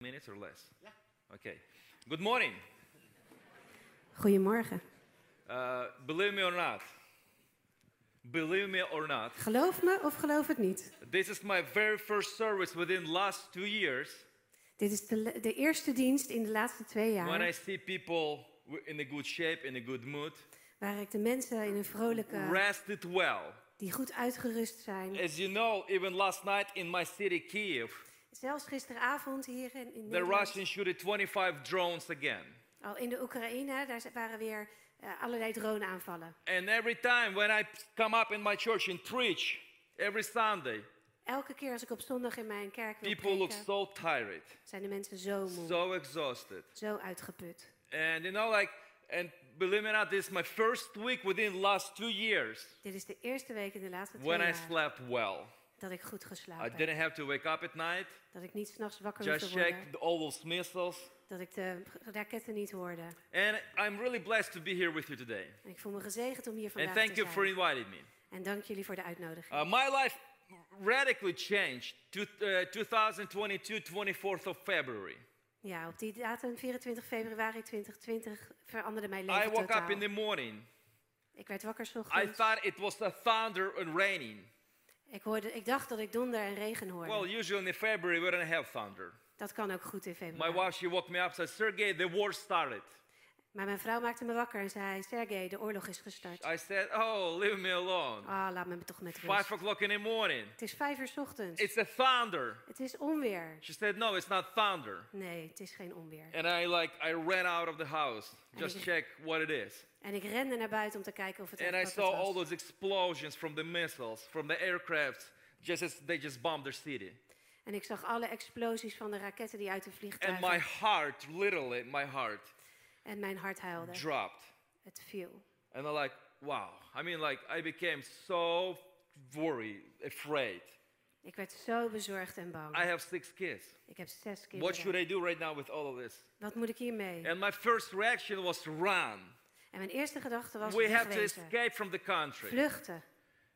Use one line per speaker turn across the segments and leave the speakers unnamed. minutes or less? Yeah. Okay. Good morning.
Goedemorgen.
Uh, believe me or not, believe me or not,
Geloof me of geloof het niet.
this is my very first service within last two years
Dit is de, le- de eerste dienst in de laatste twee
when I
jaar
see people w- in a good shape, in a good mood,
waar ik de mensen in een vrolijke,
rested well.
die goed uitgerust zijn.
As you know, even last night in my city, Kiev,
Zelfs gisteravond hier in, in
the
Nederland,
Russians shooted 25 drones again.
al in de Oekraïne, daar z- waren weer eh, allerlei droneaanvallen.
And every time when I come up in my church and preach every Sunday,
Elke keer als ik op zondag in mijn kerk wil
people look
preken,
so tired,
zijn de mensen zo moe, zo,
so exhausted.
uitgeput.
And you know, like, and believe me or not, this is my first week within last two years
Dit is de eerste week in de laatste twee
when I
jaar
slept well.
dat ik goed
I
geslapen heb.
didn't have to wake up at night,
Dat ik niet s'nachts wakker hoef
just
te
check
worden.
all those missiles.
Dat ik de raketten niet hoorde.
And I'm really blessed to be here with you today.
En ik voel me gezegend om hier
And
vandaag
thank
te
you for
zijn.
inviting me.
En dank jullie voor de uitnodiging.
Uh, my life radically changed to uh, 2022, 24th of February.
Ja, op die datum, 24 februari 2020, veranderde mijn
I
leven
woke up in
totaal.
the morning.
Ik werd wakker 's
I
ochtends.
thought it was the thunder and raining.
Ik, hoorde, ik dacht dat ik donder en regen hoorde.
Well, usually in February we don't have thunder.
dat kan ook goed in
My
februari.
wife, she woke me up, said, Sergey, the war started.
maar mijn vrouw maakte me wakker en zei, Sergej, de oorlog is gestart.
I said, oh, leave me alone.
Ah, laat me toch met rust.
Five o'clock in the morning.
Het is vijf uur 's ochtends.
It's a thunder.
het is onweer.
She said, no, it's not thunder.
Nee, het is geen onweer.
And I like, I ran out of the house, just
Okay.
check what it is.
En ik rende naar buiten om te kijken of het echt
And I
wat het
saw all
was.
those explosions from the missiles, from the aircrafts, just as they just bombed their city.
En ik zag alle explosies van de raketten die uit de
And
vliegtuigen...
my heart, literally, my heart
En mijn hart huilde.
dropped.
het viel.
And I'm like, wow. I mean, like, I became so worried, afraid.
Ik werd zo bezorgd en bang.
I have six kids.
ik heb zes kinderen.
What should I do right now with all of this?
Wat moet ik hiermee?
And my first reaction was run.
En mijn eerste gedachte was
We have to
wegwezen.
escape from the country.
Vluchten.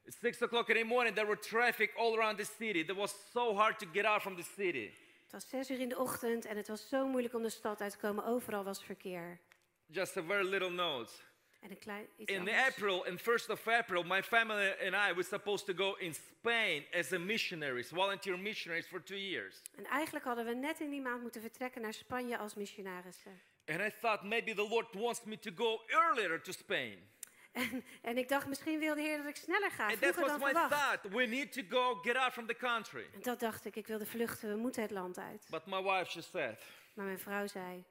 At six o'clock in the morning, there were traffic all around the city. It was so hard to get out from the city.
Het was zes uur in de ochtend en het was zo moeilijk om de stad uit te komen. Overal was verkeer.
Just a very little note.
En een klein iets
In
anders.
April, in first of April, my family and I were supposed to go in Spain as a missionaries, volunteer missionaries for two years.
En eigenlijk hadden we net in die maand moeten vertrekken naar Spanje als missionarissen.
And I thought maybe the Lord wants me to go earlier to Spain.
En, en ik dacht, misschien wil de Heer dat ik sneller ga,
And that
vroeger
was
dan
my
verwacht.
thought. We need to go get out from the country.
En dat dacht ik, ik wilde vluchten, we moeten het land uit.
But my wife, she said,
Maar mijn vrouw zei,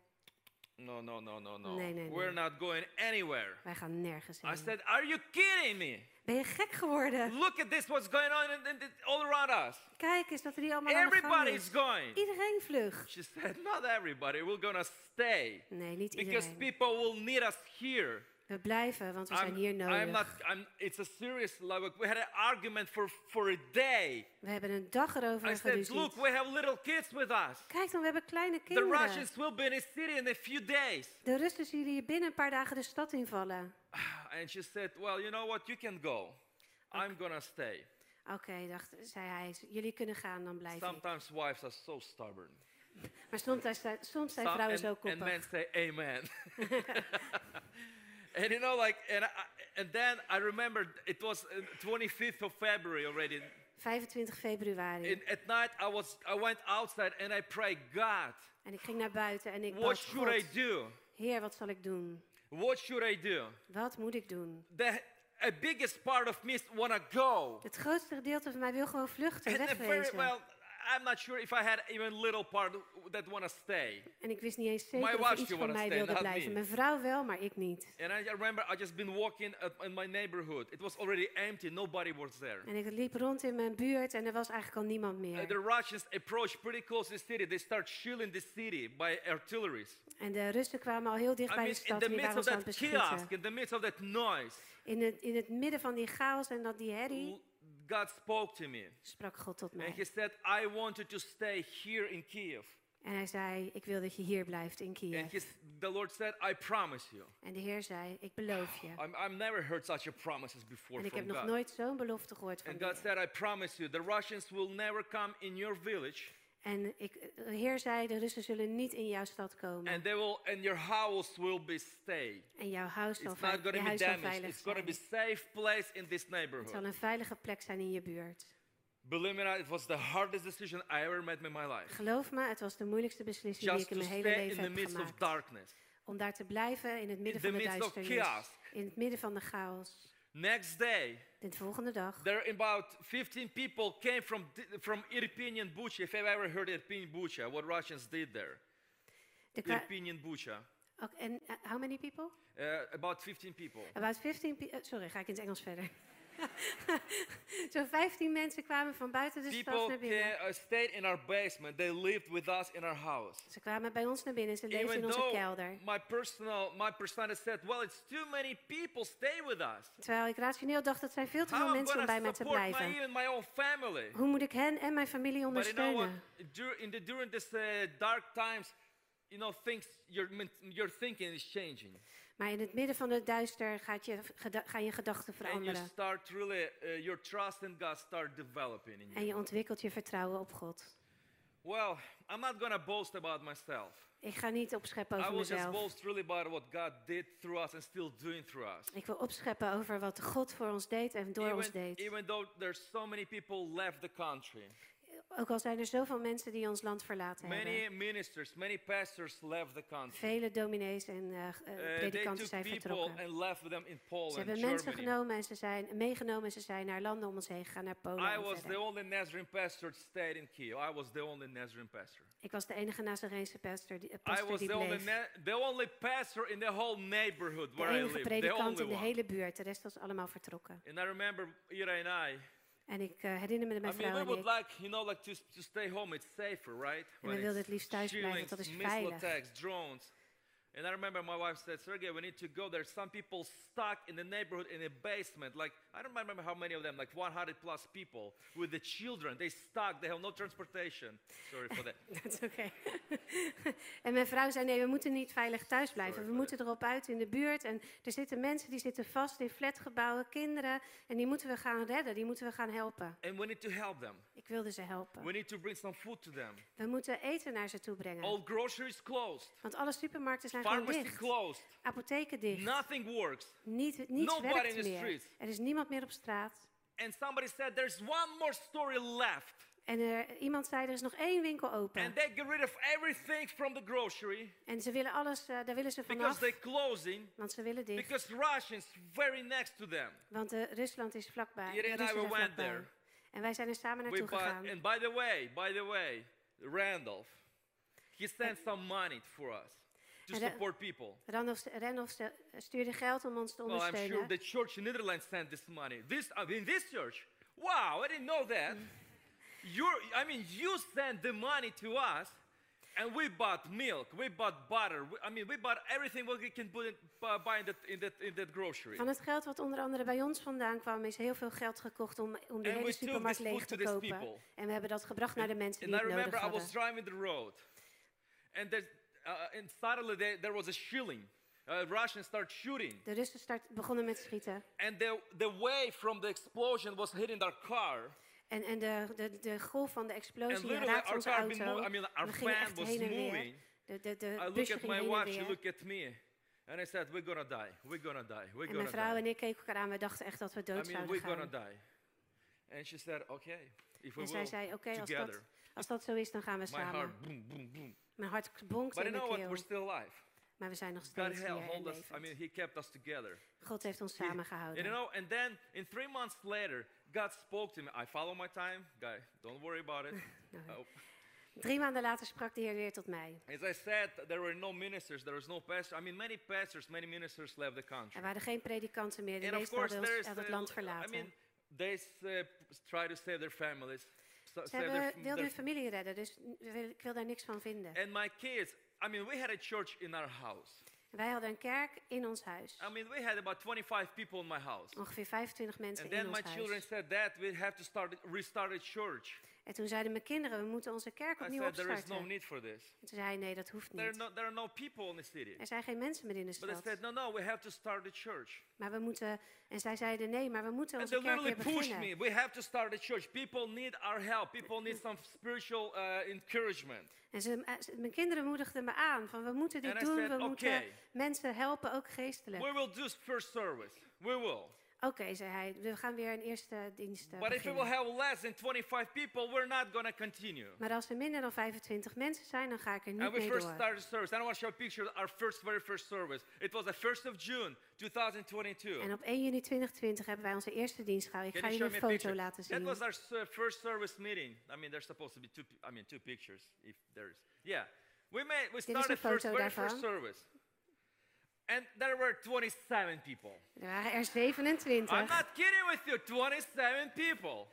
No, no, no, no, no.
Nee, nee,
We're
nee.
not going anywhere.
wij gaan nergens
I
heen.
said, Are you kidding me?
Ben je gek geworden?
Look at this, what's going on in, in, in- all around us.
Kijk eens dat er die allemaal aan de gang
Everybody
is.
is going.
Iedereen vlucht.
She said, Not everybody. We're going to stay
Nee, niet
because
iedereen.
people will need us here.
We blijven, want we zijn
I'm-
hier nodig.
I'm not, I'm, it's a serious like we had an argument for, for a day.
We hebben een dag
I
erover
said, look,
geruzied.
we have little kids with us.
Kijk dan, we hebben kleine
The
kinderen.
Russians will be in a city in a few days.
De Russen zien hier binnen een paar dagen de stad invallen.
And she said, well, you know what? You can go. I'm going to stay.
Oké, dacht, zei hij, jullie kunnen gaan, dan blijf ik.
Sometimes wives are so stubborn.
Maar soms, zijn- soms zijn
Some-
vrouwen
and,
zo
and men
koppig.
say amen. and you know, like, and, I, and then I remembered it was uh, 25th of February already.
25 februari.
And at night, I was, I went outside and I prayed, God,
En ik ging naar buiten en ik
what
bad
should I
God,
do?
Heer, wat zal ik doen?
What should I do?
Wat moet ik doen?
The a biggest part of me want to go.
Het grootste gedeelte van mij wil gewoon vluchten,
And a very,
wegwezen.
well, I'm not sure if I had even little part that want to stay.
En ik wist niet eens
My
zeker of
wife,
er iets
she
van
wanna
mij
stay,
wilde
not
blijven.
me.
Mijn vrouw wel, maar ik niet.
And I remember I just been walking up in my neighborhood. It was already empty. Nobody was there.
En ik liep rond in mijn buurt en er was eigenlijk al niemand
Uh,
meer.
the Russians approached pretty close to the city. They start shielding the city by artilleries.
En de Russen kwamen al heel dicht
I
bij
mean,
de
in
stad
the
en die
midst of
waren ons aan het
that kiosk,
beschieten.
in the midst of that noise,
In het, in het midden van die chaos en dat die herrie
l- God spoke to me.
sprak God tot
And
mij.
He said, I want you to stay here in Kiev.
En hij zei, ik wil dat je hier blijft in
And
Kiev.
his, the Lord said, I promise you.
En de Heer zei, ik beloof je.
I'm, I've never heard such a promises before
En ik heb
from
nog
God.
nooit zo'n belofte gehoord van
And
de
God
Heer.
said, I promise you, the Russians will never come in your village.
En ik, de Heer zei, de Russen zullen niet in jouw stad komen.
and they will and your house will be safe.
en jouw huis zal,
It's
vei-
not
je
going to be
huis zal
damaged.
veilig
It's going to
zijn.
be safe place in this
Het zal
neighborhood.
een veilige plek zijn in je buurt.
Believe me, or not, it was the hardest decision I ever made in my life.
Geloof me, het was de moeilijkste beslissing die
Just
ik in
to
mijn hele
stay in
leven
the
heb
midst of
gemaakt.
darkness.
Om daar te blijven in het midden
the
van de
midst of
duisternis.
chaos.
In het midden van de chaos.
Next day,
De volgende dag
there are about 15 people came from di- from Irpinian Bucha. If you've ever heard Irpinian Bucha, what Russians did there,
De kwa-
Irpinian Bucha.
Oké, en eh, how many people?
Uh, about 15 people.
About 15 pe- eh, Sorry, ga ik in het Engels verder. Zo'n 15 mensen kwamen van buiten de stad
People
naar binnen.
ca- uh, stayed in our basement. They lived with us in our house.
Ze kwamen bij ons naar binnen, ze leefden
Even
in onze
though
kelder.
my personal, my persona said, "Well, it's too many people stay with us.
Terwijl ik rationeel dacht, dat zijn veel te
How
veel
am I
mensen om bij
going
mij
to
te
support my,
blijven.
even my own family?"
Hoe moet ik hen en mijn familie
But you know what?
ondersteunen?
Dur- in the, during this uh, dark times, you know, things your men- your thinking is changing,
Maar in het midden van het duister gaat je, geda- gaan je gedachten
and you
veranderen.
start really uh, your trust in God start developing in
En
you.
je ontwikkelt je vertrouwen op God.
Well, I'm not gonna boast about myself.
Ik ga niet opscheppen
I
over
will just
mezelf.
boast really about what God did through us and still doing through us.
Ik wil opscheppen over wat God voor ons deed en door ons
Even,
deed.
even though there's so many people left the country,
Ook al zijn er zoveel mensen die ons land verlaten hebben.
many ministers, many pastors left the country.
Vele dominees en eh, g- eh,
Uh, they
predikanten
took
zijn
people
vertrokken.
and left them in
Ze
Poland,
hebben mensen
Germany.
genomen en ze zijn meegenomen en ze zijn naar landen om ons heen gegaan, naar Polen
I
en
was the
verder.
only Nazarene pastor that stayed in Kiev. I was the only Nazarene pastor.
Ik was de enige Nazarense pastor die, eh,
I
pastor
was
die
the only,
bleef.
na- the only pastor in the whole neighborhood
De
where I
enige
lived. The
predikant
only
in de
one.
hele buurt, de rest was allemaal vertrokken.
And I remember Ira and I.
En ik eh, herinner me de-
I
mijn
mean,
vrouw
we
en
would
ik.
like, you know, like to, s- to stay home. It's safer, right?
we
When
wilden
it's
het liefst thuis blijven, want
shootings,
dat is
missile
veilig.
attacks, drones. And I remember my wife said, Sergey, we need to go. There's some people stuck in the neighborhood in a basement. Like, I don't remember how many of them, like 100 plus people with the children. They stuck. They have no transportation. Sorry for that.
Dat is oké. en mijn vrouw zei, nee, we moeten niet veilig thuis blijven.
Sorry
we
voor
moeten erop uit in de buurt. En er zitten mensen die zitten vast in flatgebouwen, kinderen. En die moeten we gaan redden, die moeten we gaan helpen.
And we need to help them.
Ik wilde ze helpen.
We need to bring some food to them.
We moeten eten naar ze toe brengen.
All groceries closed.
Want alle supermarkten zijn gewoon
Pharmacy
dicht.
closed.
Apotheken dicht.
Nothing works.
Niet, niets
Nobody
werkt
in the
meer.
streets.
Er is niemand meer op straat.
And somebody said, there's one more story left.
En er, iemand zei, er is nog één winkel open.
And they get rid of everything from the grocery
En ze willen alles, eh, daar willen ze
because
vanaf.
they're closing.
Want ze willen dicht.
Because Russians very next to them.
Want eh, Rusland is vlakbij.
Irene and I,
Russen
we
zijn
went
vlakbij.
there.
En wij zijn er samen
We
naartoe
bought,
gegaan.
and by the way, by the way, Randolph, he sent some money for us to
And that-
support people.
Randolph, Randolph stu- stuurde geld om ons te
Well, I'm
ondersteunen.
sure the church in Netherlands sent this money. This I mean, this church. Wow, I didn't know that. You're, I mean, you sent the money to us, and we bought milk, we bought butter. We, I mean, we bought everything what we can put in, bu- buy in that in that in that grocery.
Van het geld wat onder andere bij ons vandaan kwam, is heel veel geld gekocht om, om de
And we
hele
took
supermarkt
this food
leeg
to
te
these
kopen.
people.
En we hebben dat gebracht naar de mensen
And
die
I
het
remember
nodig
I
hadden.
was driving the road, and there's, uh, and suddenly there, there was a shilling. Uh, Russians start shooting,
De Russen start, begonnen met schieten.
and the the way from the explosion was hitting our car.
En, en de, de, de golf van de
And
explosie
literally
raakte
our
onze
car been
auto.
moving- I mean, our
we gingen
van
echt
was
heen en weer.
moving.
De, de,
I
de
look
busje
at
ging
my
heen en
wife, she
weer.
looked at me, and I said, "We're gonna die. We're gonna die. We're
En mijn
gonna
vrouw en
die.
ik keken elkaar aan. We dachten echt dat we
I
dood
mean,
zouden
we're gonna
gaan.
die." And she said, "Okay, if we
En
will
zij zei, oké, als, dat,
together."
als dat zo is, dan gaan we
My heart,
samen.
boom, boom, boom.
Mijn hart bonkt
But you
in
know
mijn
what?
keel.
We're still alive.
Maar we zijn nog
God
steeds hier
help,
en
hold us. I
levend.
mean, He kept us together.
God heeft ons
He- And you
samengehouden.
know, and then in three months later, God spoke to me. I follow my time, guy. Don't worry about it. Oh.
Drie maanden later sprak de Heer weer tot mij.
As I said, there were no ministers. There was no pastor. I mean, many pastors, many ministers left the country.
Er waren geen predikanten meer. De
And of
meesten
course,
hadden
there
ons
is.
uit
the-
het land
I mean,
verlaten.
they s- uh, try to save their families. So,
Ze
save their
hebben-
f-
wilden
their-
hun familie redden, dus n- wil- ik wil daar niks van vinden.
and my kids. I mean, we had a church in our house.
Wij hadden een kerk in ons huis.
I mean, we had about 25 people in my house.
Ongeveer 25 mensen
And
in
then
ons
my children
huis.
said, "Dad, we have to start restart a church."
En toen zeiden mijn kinderen, we moeten onze kerk
I
opnieuw
said, there is
opstarten.
no need for this.
En toen zei hij, nee, dat hoeft
There are
niet.
no, there are no people in the city.
Er zijn geen mensen meer in de
But they
stad.
said, no, no, we have to start a church.
Maar we moeten, en zij zeiden, nee, maar we moeten
And they
onze kerk
literally
weer
pushed me.
beginnen.
We have to start a church. People need our help. People need some spiritual uh, encouragement.
En ze, eh, ze- mijn kinderen moedigden me aan, van we moeten dit
And I
doen,
said,
we moeten
"Okay."
mensen helpen, ook geestelijk.
We will do first service. We will.
Oké, zei hij, we gaan weer een eerste dienst eh,
But if we will
beginnen.
have less than 25 people, we're not going to continue.
Maar als er minder dan 25 mensen zijn, dan ga ik er niet
And we
mee
first
door.
started service. And I want to show a picture of our first, very first service. It was the 1st of June, 2022.
En op 1 juni 2020 hebben wij onze eerste dienst gehouden. Ik ga
Can you show
jullie
me a picture?
een foto laten
That
zien.
was our s- uh, first service meeting. I mean, there's supposed to be two. pi- I mean, two pictures if there is. Yeah, we made we
is een
started first
foto
very first
daarvan.
service, and there were 27 people.
Er waren er
I'm
27.
not kidding with you, 27 people.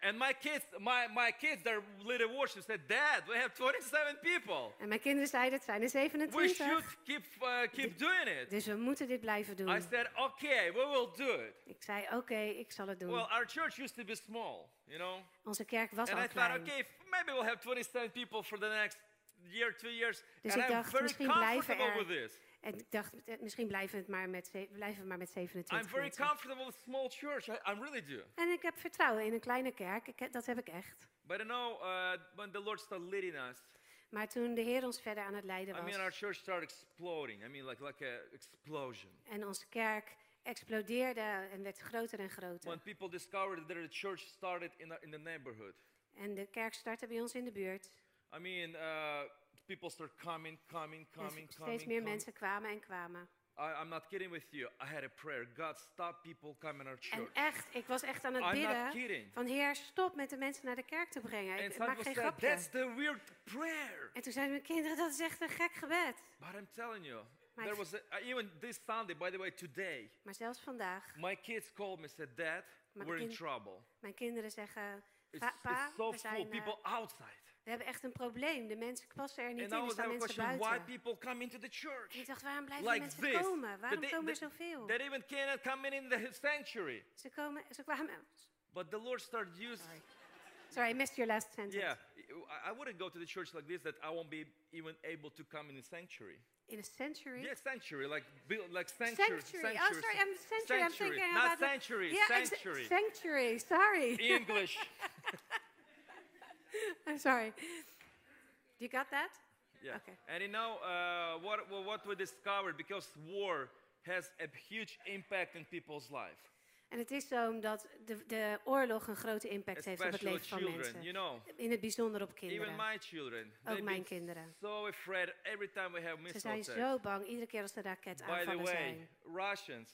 And my kids, my my kids, their little worship said, "Dad, we have 27 people.
En mijn kinderen zeiden, het zijn er
We should
27.
keep uh, keep doing it."
Dus we moeten dit blijven
I
doen.
said, "Okay, we will do it."
Ik zei, oké, ik zal het doen.
Well, our church used to be small, you know.
Onze kerk was
And I
al
thought,
klein.
okay, f- maybe we'll have 27 people for the next year, two years.
Dus
and
ik
I'm
dacht,
very
misschien blijven
comfortable
er-
with this.
En ik dacht, eh, misschien blijven we het maar met, ze- blijven we maar met
I'm
27
very
mensen.
comfortable with small church. I, I really do.
En ik heb vertrouwen in een kleine kerk. Ik, heb- dat heb ik echt.
But you know, uh, when the Lord started leading us,
Maar toen de Heer ons verder aan het leiden
I mean, our
was
church started exploding. I mean, like like a explosion.
en onze kerk explodeerde en werd groter en
When
groter.
people discovered that the church started in the, in the neighborhood,
En de kerk startte bij ons in de buurt.
I mean, uh, people start coming, coming,
En
coming, coming.
steeds meer
coming.
mensen kwamen en kwamen.
I, I'm not kidding with you. I had a prayer. God, stop people coming to our church.
En echt, ik was echt aan het
I'm not
bidden
kidding.
van Heer, stop met de mensen naar de kerk te brengen.
And
Ik
some
maak
people
geen
said, that's
grapje.
the weird prayer.
En toen zeiden mijn kinderen, dat is echt een gek gebed.
But I'm telling you,
My
there
f-
was a, uh, even this Sunday, by the way, today,
Maar zelfs vandaag,
my kids called me said, Dad,
Maar
we're in
kind-
trouble.
mijn kinderen zeggen,
It's,
"Pa, pa,
it's so full,
we, zijn, eh,
people outside.
we hebben echt een probleem. De mensen passen er niet
And
in,
I
er
was
staan
having a
mensen
question, why
buiten.
people come into the
En ik
church
dacht, waarom blijven
like
mensen
this?
komen?
That
Waarom
they-
komen er
that-
zoveel?
that even cannot come in in the sanctuary.
Ze, komen, ze kwamen...
But the Lord started using,
Sorry. Sorry, I missed your last sentence.
yeah, I, I wouldn't go to the church like this that I won't be even able to come in the sanctuary.
In a century?
Yeah, sanctuary, like build, like sanctuary,
Sanctuary. Oh, sorry, I'm century. I'm
Sanctuary,
thinking
not
about the-
sanctuary,
Yeah, ex-
sanctuary.
sanctuary. Sorry.
English.
I'm sorry. You got that?
Yeah.
Okay.
And you know uh, what wha- what we discovered because war has a huge impact in people's life,
En het is zo omdat de, de oorlog een grote impact heeft op het
especially
leven van
children.
mensen.
You know,
In het bijzonder op kinderen.
even my children.
Ook
they've
mijn
been
kinderen.
So afraid every time we have
Ze
missile
zijn
attacks.
zo bang iedere keer als
By
er
the
raketaanvallen
way,
zijn.
Russians.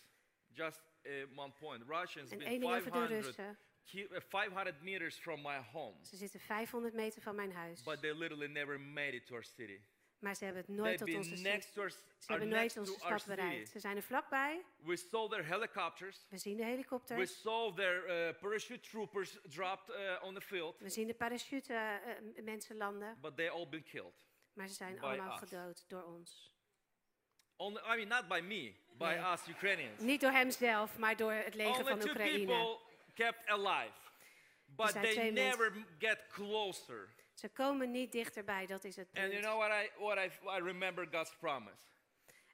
Just uh, one point. Russians
En
been
één ding over de
500,
Russen.
ki- uh, 500 meters from my home,
Ze zitten 500 meter van mijn huis.
but they literally never made it to our city.
Maar ze hebben het
They've
nooit tot onze
been
stad.
next to our, s-
Ze
are
hebben
next
nooit
to
onze
our
stad
city.
bereikt. Ze zijn er vlakbij.
We saw their helicopters.
We zien de
We
helikopters.
saw their uh, parachute troopers dropped uh, on the field,
We zien de parachute eh, eh, mensen landen.
but they all been killed.
Maar ze zijn
By
allemaal
us.
gedood door ons.
Only, I mean, not by me, by
Nee.
us Ukrainians.
Niet door hemzelf, maar door het leger
Only
van
two
Oekraïne.
people kept alive, but
zijn
they
twee
never m- get closer.
Ze komen niet dichterbij, dat is het punt.
And you know what I what I, I remember God's promise.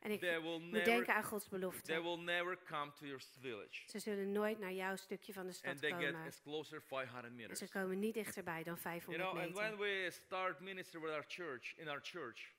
en ik
They will
moet
never
denken aan Gods
they
belofte.
will never come to your village,
Ze zullen nooit naar jouw stukje van de
and
stad
they get
komen.
as closer 500
En
meters.
ze komen niet dichterbij dan
You
500
know, and
meter.
when we start ministry with our church in our church,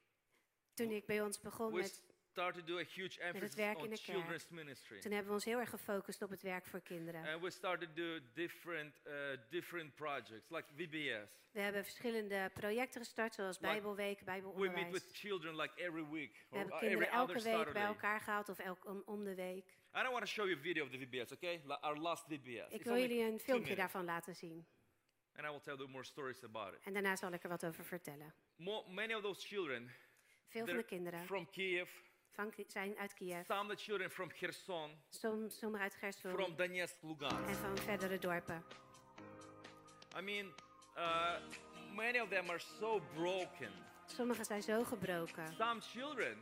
Toen ik bij ons begon,
we
met,
start to do a huge emphasis
werk in
on
de kerk.
children's ministry.
toen hebben we ons heel erg gefocust op het werk voor kinderen.
And we started to do different, uh, different projects, like VBS.
We hebben verschillende projecten gestart, zoals
Like,
Bijbelweek,
We meet
Bijbelonderwijs.
with children like every week
We
or
hebben
uh, every
kinderen
other
elke week
Saturday.
bij elkaar gehaald of elk, om, om de week.
I don't want to show you a video of the VBS, okay? La- our last VBS.
Ik
It's
wil
only
jullie een
two
filmpje
minutes.
daarvan laten zien.
And I will tell you more stories about it.
En daarna zal ik er wat over vertellen.
Mo- many of those children,
Veel van
they're
de kinderen
from Kiev,
van Ki- zijn uit Kiev.
some of the children from Kherson,
Soms sommigen uit
from
Gerson
Donetsk,
en
Lugansk.
van verdere dorpen.
I mean, uh, many of them are so broken.
Sommigen zijn zo gebroken.
Some children,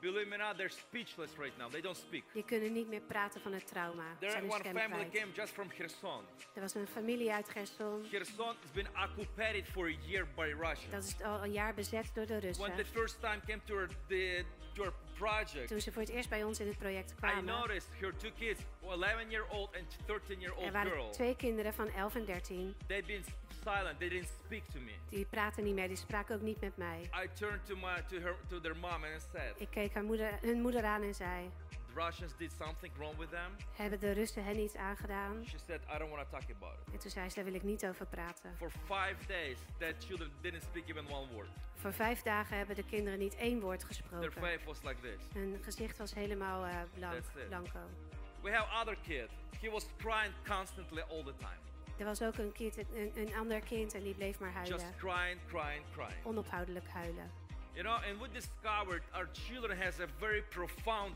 Believe me now, they're speechless right now. They don't speak.
Die kunnen niet meer praten van het trauma. Ze
There
Zijn hun
one
stem
family
kwijt.
came just from Kherson.
Er was een familie uit Gerson.
Kherson has been occupied for a year by Russia.
Dat is al een jaar bezet door de
When the
Russen.
first time came to her, the, to her project,
Toen ze voor het eerst bij ons in het project
I
kwamen.
noticed her two kids, 11 year old and 13 year
Er
old
waren
girl,
twee kinderen van 11 en 13.
they've been silent. They didn't speak to me.
Die praten niet meer, die spraken ook niet met mij.
I turned to my to her to their mom and I said,
Ik keek haar moeder, hun moeder aan en zei:
"The Russians did something wrong with them.
Hebben de Russen hen iets aangedaan?
She said, I don't want to talk about it.
En toen zei ze: Daar wil ik niet over praten.
For five days, that children didn't speak even one word.
Voor vijf dagen hebben de kinderen niet één woord
Their
gesproken.
face was like this.
Hun gezicht was helemaal eh, blank,
That's it.
blanco.
We have other kid. He was crying constantly all the time.
Er was ook een, kind, een, een ander kind en die bleef maar
Just
huilen.
crying, crying, crying.
Onophoudelijk huilen.
You know, and we discovered our children has a very profound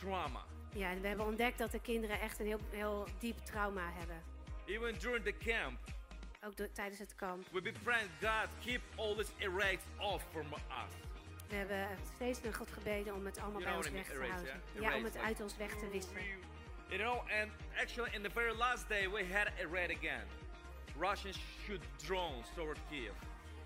trauma.
Ja, en we hebben ontdekt dat de kinderen echt een heel, heel diep trauma hebben.
Even during the camp,
Ook door- tijdens het kamp.
we befriend God, keep all these errors off from us.
We hebben steeds naar God gebeden om het allemaal
You
bij
know
ons
what I
weg
mean,
te
erase,
houden.
yeah?
Ja, om
Erase,
het
like-
uit ons weg te wissen.
You know, and actually, in the very last day, we had a red again. Russians shoot drones over Kiev.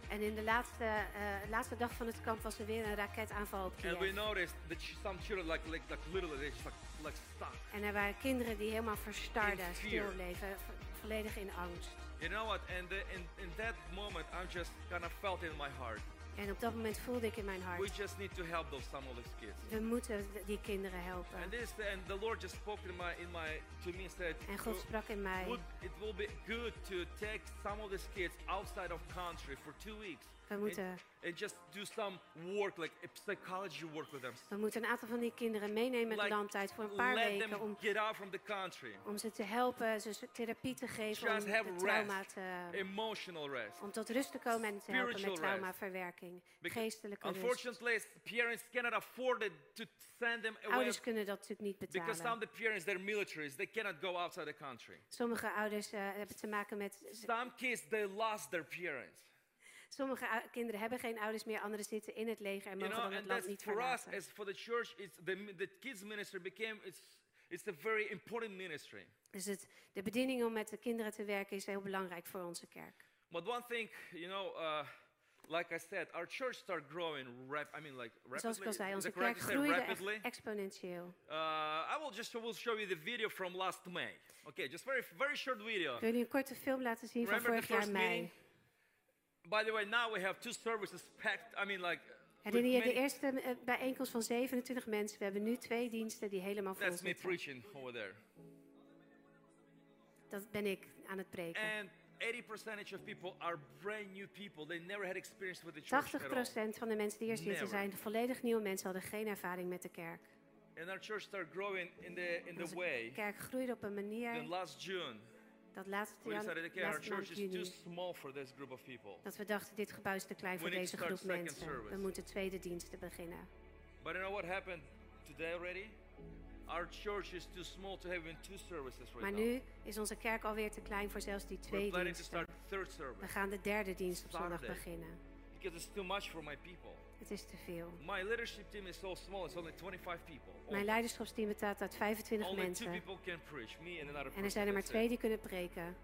En in de laatste, eh, laatste dag van het kamp was er weer een raketaanval op
And we
Kiev.
noticed that ch- some children, like, like, like literally, they just like, like stuck.
En er waren kinderen die helemaal verstarden,
In fear.
stil bleven, vo- volledig in angst.
You know what? And the, in, in that moment, I'm just kind of felt in my heart.
En op dat moment voelde ik in mijn
We
hart,
just need to help those some of these kids.
we moeten d- die kinderen helpen.
And this, and the Lord just spoke in my, in my, to me and said,
En God
"You-
sprak in mij,
would, it will be good to take some of these kids outside of country for two weeks
We moeten-
and, and just do some work, like a psychology work with them.
we moeten een aantal van die kinderen meenemen het
Like,
land uit voor een paar
let
weken
them
om,
get out from the country.
om ze te helpen, ze ze therapie te geven, om
Just have
het trauma
rest,
te,
emotional rest.
om tot rust te komen en te helpen met
Spiritual rest.
traumaverwerking,
Because
geestelijke rust.
unfortunately, parents cannot afford it to send them away
Ouders kunnen dat natuurlijk niet
because some of
betalen.
the parents, they're militaries, they cannot go outside the country.
Sommige ouders eh, hebben te maken met. z-
Some kids, they lost their parents.
Sommige ou- kinderen hebben geen ouders meer, anderen zitten in het leger en
You
mogen
know,
dan het
and
land
that's
niet
for us,
verlaten.
as for the church, it's the, the kids ministry became, it's, it's a very important ministry.
Dus het, de bediening om met de kinderen te werken is heel belangrijk voor onze kerk.
But one thing, you know, uh, like I said, our church started growing rap. I mean, like
Dus Zoals ik
rapidly.
al zei,
Is
onze
it
kerk
correct to say
groeide echt
rapidly?
exponentieel.
Uh, I will just will show you the video from last May. Okay, just very very short video.
Ik wil jullie een korte film laten zien van
Remember
vorig
the
jaar
first
mei.
meeting? By the way, now we have two services packed. I mean, like. with
Herinner je de
many-
eerste eh, bijeenkomst van 27 mensen? We hebben nu twee diensten die helemaal vol
That's me
zitten.
preaching over there.
Dat ben ik aan het preken.
And 80 percentage of people are brand new people. They never had experience with the
80%
church at all.
van de mensen die hier zitten
Never.
zijn volledig nieuwe mensen, hadden geen ervaring met de kerk.
And our church started growing in the in the
Onze
way.
kerk groeide op een
Then
manier
last June,
dat laatste
we
jaar,
decided, okay, our
laatste maand
church is too
juni,
small for this group of people.
dat we dachten dit gebouw is te klein
We
voor
need to
deze
start
groep
second
mensen. We
service.
moeten tweede diensten beginnen.
But you know what happened today already? Our church is too small to have even two services right
Maar
now.
nu is onze kerk alweer te klein voor zelfs die
We're
twee
planning to
diensten.
start third
We
service
gaan de derde dienst op zondag
Saturday.
beginnen.
because it's too much for my people.
Het is te veel.
My leadership team is so small; it's only 25 people.
Mijn leiderschapsteam bestaat uit 25
only two
mensen.
people can preach, me uh, and another person.
En er zijn er maar
that's it.
twee die kunnen preken.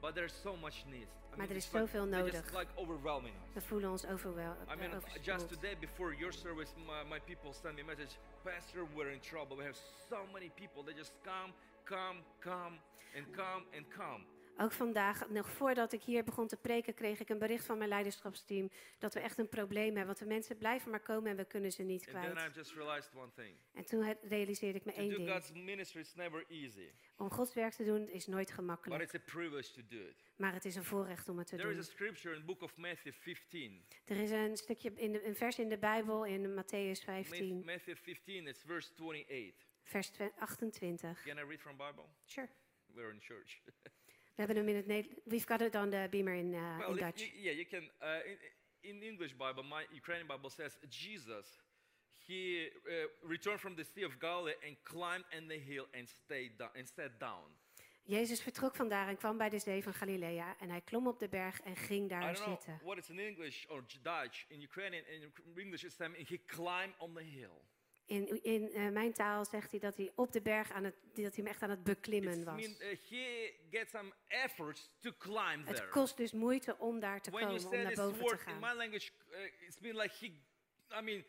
But there's so much needs. I
Maar
mean,
er is
it's like-
zoveel
they're just
nodig.
like overwhelming us.
We voelen ons eh, overweldigd.
I mean, just today before your service, my, my people sent me a message, Pastor, we're in trouble. We have so many people. They just come, come, come, and come, and come.
Ook vandaag, nog voordat ik hier begon te preken, kreeg ik een bericht van mijn leiderschapsteam dat we echt een probleem hebben. Want de mensen blijven maar komen en we kunnen ze niet
And then I
kwijt.
just realized one thing.
En toen he- realiseerde ik me
To
één
do
ding.
God's ministry is never easy,
Om Gods werk te doen is nooit
but
gemakkelijk.
it's a privilege to do it.
Maar het is een voorrecht om het te
There is a
doen.
scripture in book of Matthew 15.
Er is een stukje in de, een vers in de Bijbel in Matthäus
Ma-
15,
Matthew 15, it's verse 28.
vers twe- 28.
Can I read from Bible?
Sure.
We're in church.
We hebben hem in het Nederlands. We've got it on the beamer in, eh,
well,
in
if
Dutch.
you- yeah, you can. Uh, in, in English Bible, my Ukrainian Bible says Jesus, he uh, returned from the Sea of Galilee and climbed on the hill and stayed down and sat down.
Jezus vertrok vandaar en kwam bij de zee van Galilea. En hij klom op de berg en ging
I
daar
don't know
zitten.
what it's in English or J- Dutch. In Ukrainian, in English, it's um, he climbed on the hill.
In, in eh, mijn taal zegt hij dat hij op de berg aan het, dat hij hem echt aan het beklimmen
It
was.
means uh, he gets some efforts to climb
Het
there.
kost dus moeite om daar te
When you
komen, om
say
naar
this
boven te
word in
gaan.
my language, uh, it's been like he, I mean,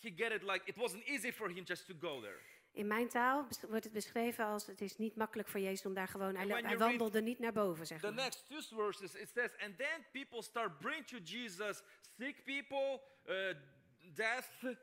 he get it like it wasn't easy for him just to go there.
In mijn taal bes- wordt het beschreven als het is niet makkelijk voor Jezus om daar gewoon... Hij,
And
lo-
when
hij
you read
wandelde niet naar boven, zeg
The
maar.
next two verses it says, and then people start bring to Jesus sick people, uh, deaf, the,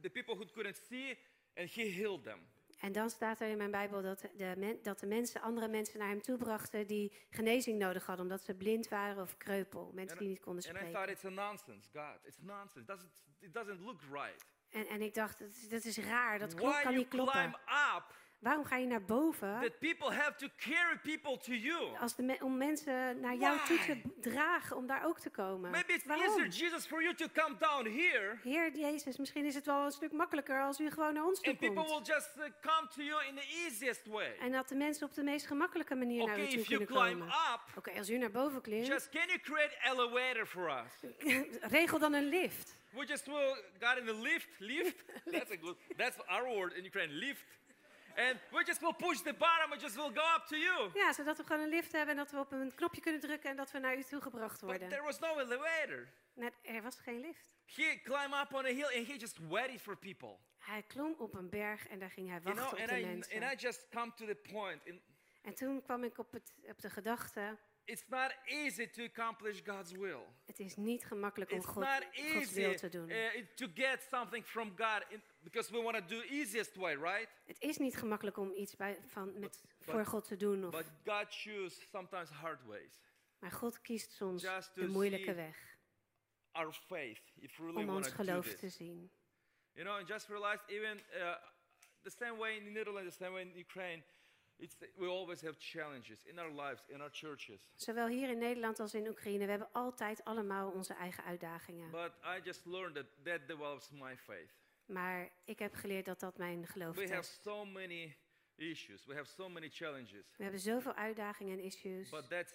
the people who couldn't see, and he healed them.
En dan staat er in mijn Bijbel dat de, men- dat de mensen andere mensen naar hem toe brachten die genezing nodig hadden, omdat ze blind waren of kreupel, mensen die niet konden
And I thought
spreken.
it's a nonsense, God. It's nonsense. Doesn't, it doesn't look right.
En, en ik dacht, dat is, dat is raar, dat klopt,
Why
kan
you
niet
climb
kloppen.
up
Waarom ga je naar boven
that people have to carry people to you?
als de me- om mensen naar jou toe te
Why?
b- dragen om daar ook te komen?
Maybe it's easier,
Waarom?
Jesus, for you to come down here
Heer Jezus, misschien is het wel een stuk makkelijker als u gewoon naar ons toe
and people will
komt.
just uh, come to you in the easiest way.
En dat de mensen op de meest gemakkelijke manier naar u
Okay,
toe
if you
kunnen
climb
komen.
up,
Oké, als u naar boven klimt,
just can you create elevator for us?
regel dan een lift.
We just will got in the lift, lift. That's a good. That's our word in Ukraine, lift. And we just will push the bottom. We just will go up to you.
Ja, zodat we gewoon een lift hebben en dat we op een knopje kunnen drukken en dat we naar u toe gebracht
But
worden.
there was no elevator.
Nou, er was geen lift.
He climbed up on a hill and he just waited for people.
Hij klom op een berg en daar ging hij
You know,
wachten
and
op de
I
mensen.
and I just come to the point. in-
En toen kwam ik op, het, op de gedachte,
It's not easy to accomplish God's will.
het is niet gemakkelijk om
It's
God,
not
Gods
easy
wil te doen.
uh, to get something from God in, because we want to do easiest way, right?
Het is niet gemakkelijk om iets bij, van, met,
but-
voor God te doen. Of,
But God chooses sometimes hard ways.
maar God kiest soms
Just to
de moeilijke
see
weg
Our faith, if we really
om
want
ons
to do
geloof
this.
te zien.
You know, and just realized even uh, the same way in the Netherlands, the same way in Ukraine, it's, we always have challenges in our lives, in our churches.
Zowel hier in Nederland als in Oekraïne, we hebben altijd allemaal onze eigen uitdagingen.
But I just learned that that develops my faith.
Maar ik heb geleerd dat dat mijn geloof
We have
test.
so many issues, we have so many challenges,
We hebben zoveel uitdagingen en issues.
but that's,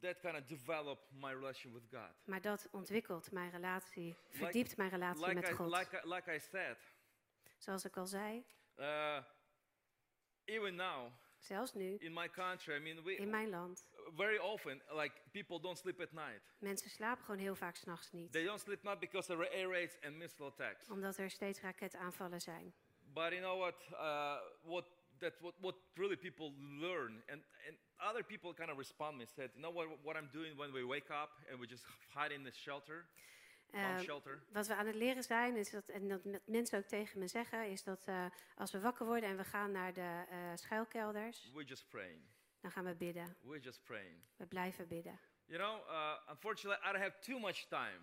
that kind of developed my relation with God.
Maar dat ontwikkelt mijn relatie, verdiept mijn relatie
Like
met
I,
God.
like, I, like I said,
Zoals ik al zei,
uh, even now
zelfs nu,
in my country, I mean, we,
in mijn land,
very often, like people don't sleep at night.
mensen slapen gewoon heel vaak s'nachts niet.
They don't sleep not because there are air raids and missile attacks.
Omdat er steeds raketaanvallen zijn.
But you know what? Uh, what that what, what really people learn and and other people kind of respond me said, you know what what I'm doing when we wake up and we just hide in the shelter, bomb
Eh,
shelter.
wat we aan het leren zijn, is dat, en dat me- mensen ook tegen me zeggen, is dat eh, als we wakker worden en we gaan naar de eh, schuilkelders,
We're just praying.
dan gaan we bidden.
We're just praying.
We blijven bidden.
You know, uh, unfortunately, I don't have too much time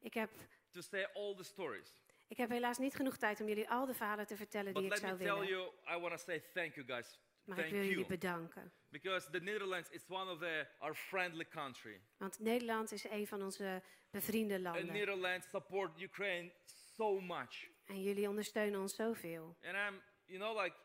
Ik heb,
to say all the stories.
ik heb helaas niet genoeg tijd om jullie al de verhalen te vertellen
But
die ik
let me
zou
tell
willen.
you, I want to say thank you guys.
Maar ik
thank
wil
you.
jullie bedanken.
Because the Netherlands is one of the, our friendly country.
Want Nederland is een van onze bevriende
And
landen.
Netherlands support Ukraine so much.
En jullie ondersteunen ons zoveel.
And I'm, you know, like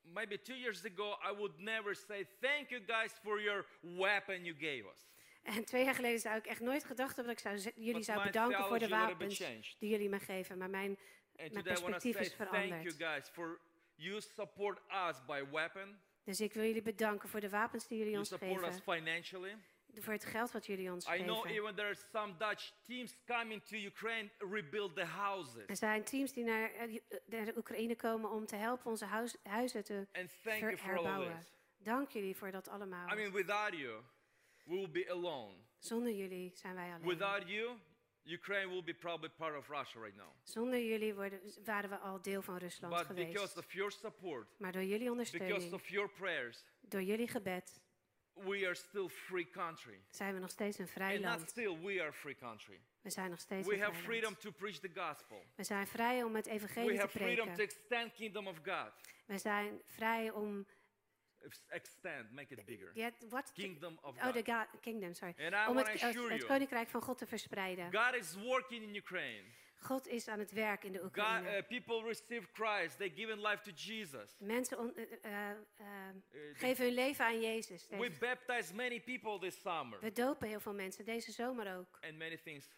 maybe two years ago, I would never say thank you guys for your weapon you gave us.
En twee jaar geleden zou ik echt nooit gedacht hebben dat ik zou ze- jullie
But
zou
my
bedanken voor de
theology would have been
wapens
changed.
die jullie me geven. Maar mijn,
And
mijn
today I want to
perspectief
say
is
thank you
veranderd.
guys for you support us by weapon,
Dus ik wil jullie bedanken voor de wapens die jullie
you
ons
support us
geven.
financially.
Voor het geld wat jullie ons
I know
geven.
even there's some Dutch teams coming to Ukraine rebuild the
Er
houses.
zijn teams die naar, eh, die- eh, naar de Oekraïne komen om te helpen onze huis- huizen te
And thank you
ver-
for all
herbouwen.
this.
Dank jullie voor dat allemaal.
I mean, without you, we will be alone.
Zonder jullie zijn wij alleen.
Without you, Ukraine will be probably part of Russia right now.
Zonder jullie worden, waren we al deel van Rusland
But because
geweest.
of your support,
Maar door jullie
because of
ondersteuning,
your prayers,
door jullie gebed,
we are still free country.
zijn we nog steeds een vrij
And not
land.
still, we are free country.
We zijn nog steeds
We
een
have
vrij
freedom
land.
to preach the gospel.
We zijn vrij om het evangelie
We
te
have freedom to
preken.
extend kingdom of God.
We zijn vrij om...
Ex- Extend, make it bigger.
Ja, wat?
Kingdom of
oh, de
God.
God, kingdom, sorry.
And I
Om
want
het, eh,
to
het-
assure
het
you,
koninkrijk van God te verspreiden.
God is working in Ukraine.
God is aan het werk in de
God,
Oekraïne.
uh, people receive Christ. They give in life to Jesus.
Mensen on- eh, eh, eh,
Eh,
geven hun leven aan Jezus.
We
Deze-
baptized many people this summer,
We dopen heel veel mensen, deze zomer ook.
and many things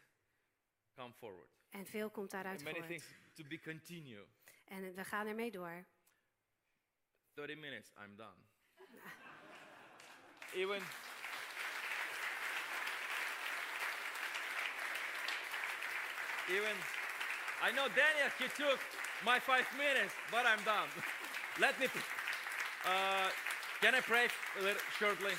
come forward.
En veel komt daaruit
And many
voort.
things to be continued.
En eh, we gaan ermee door.
30 minutes, I'm done. Even. Even. I know Daniel, he took my five minutes, but I'm done. Let me. Uh, can I pray a little, shortly?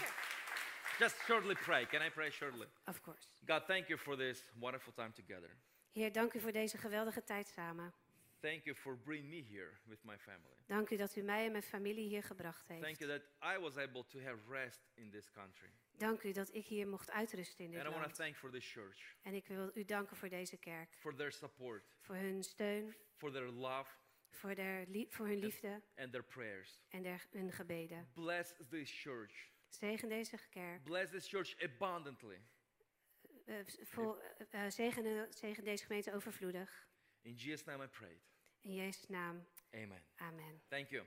Just shortly pray. Can I pray shortly?
Of course.
God, thank you for this wonderful time together.
Heer, dank u voor deze geweldige tijd samen.
Thank you for bringing me here with my family.
Dank u dat u mij en mijn familie hier gebracht
Thank
heeft.
you that I was able to have rest in this country.
Dank u dat ik hier mocht uitrusten in dit
And I want to
land.
thank for this church,
En ik wil u danken voor deze kerk.
for their support,
Voor hun steun,
for their love,
voor, der lie- voor hun liefde
and their prayers.
en der, hun gebeden.
Bless this church.
Zegen deze kerk.
Bless this church abundantly.
Eh, vol- eh, eh, zegen, zegen deze gemeente overvloedig.
In Jesus' name I prayed.
In Jezus' naam.
Amen.
Amen.
Thank you.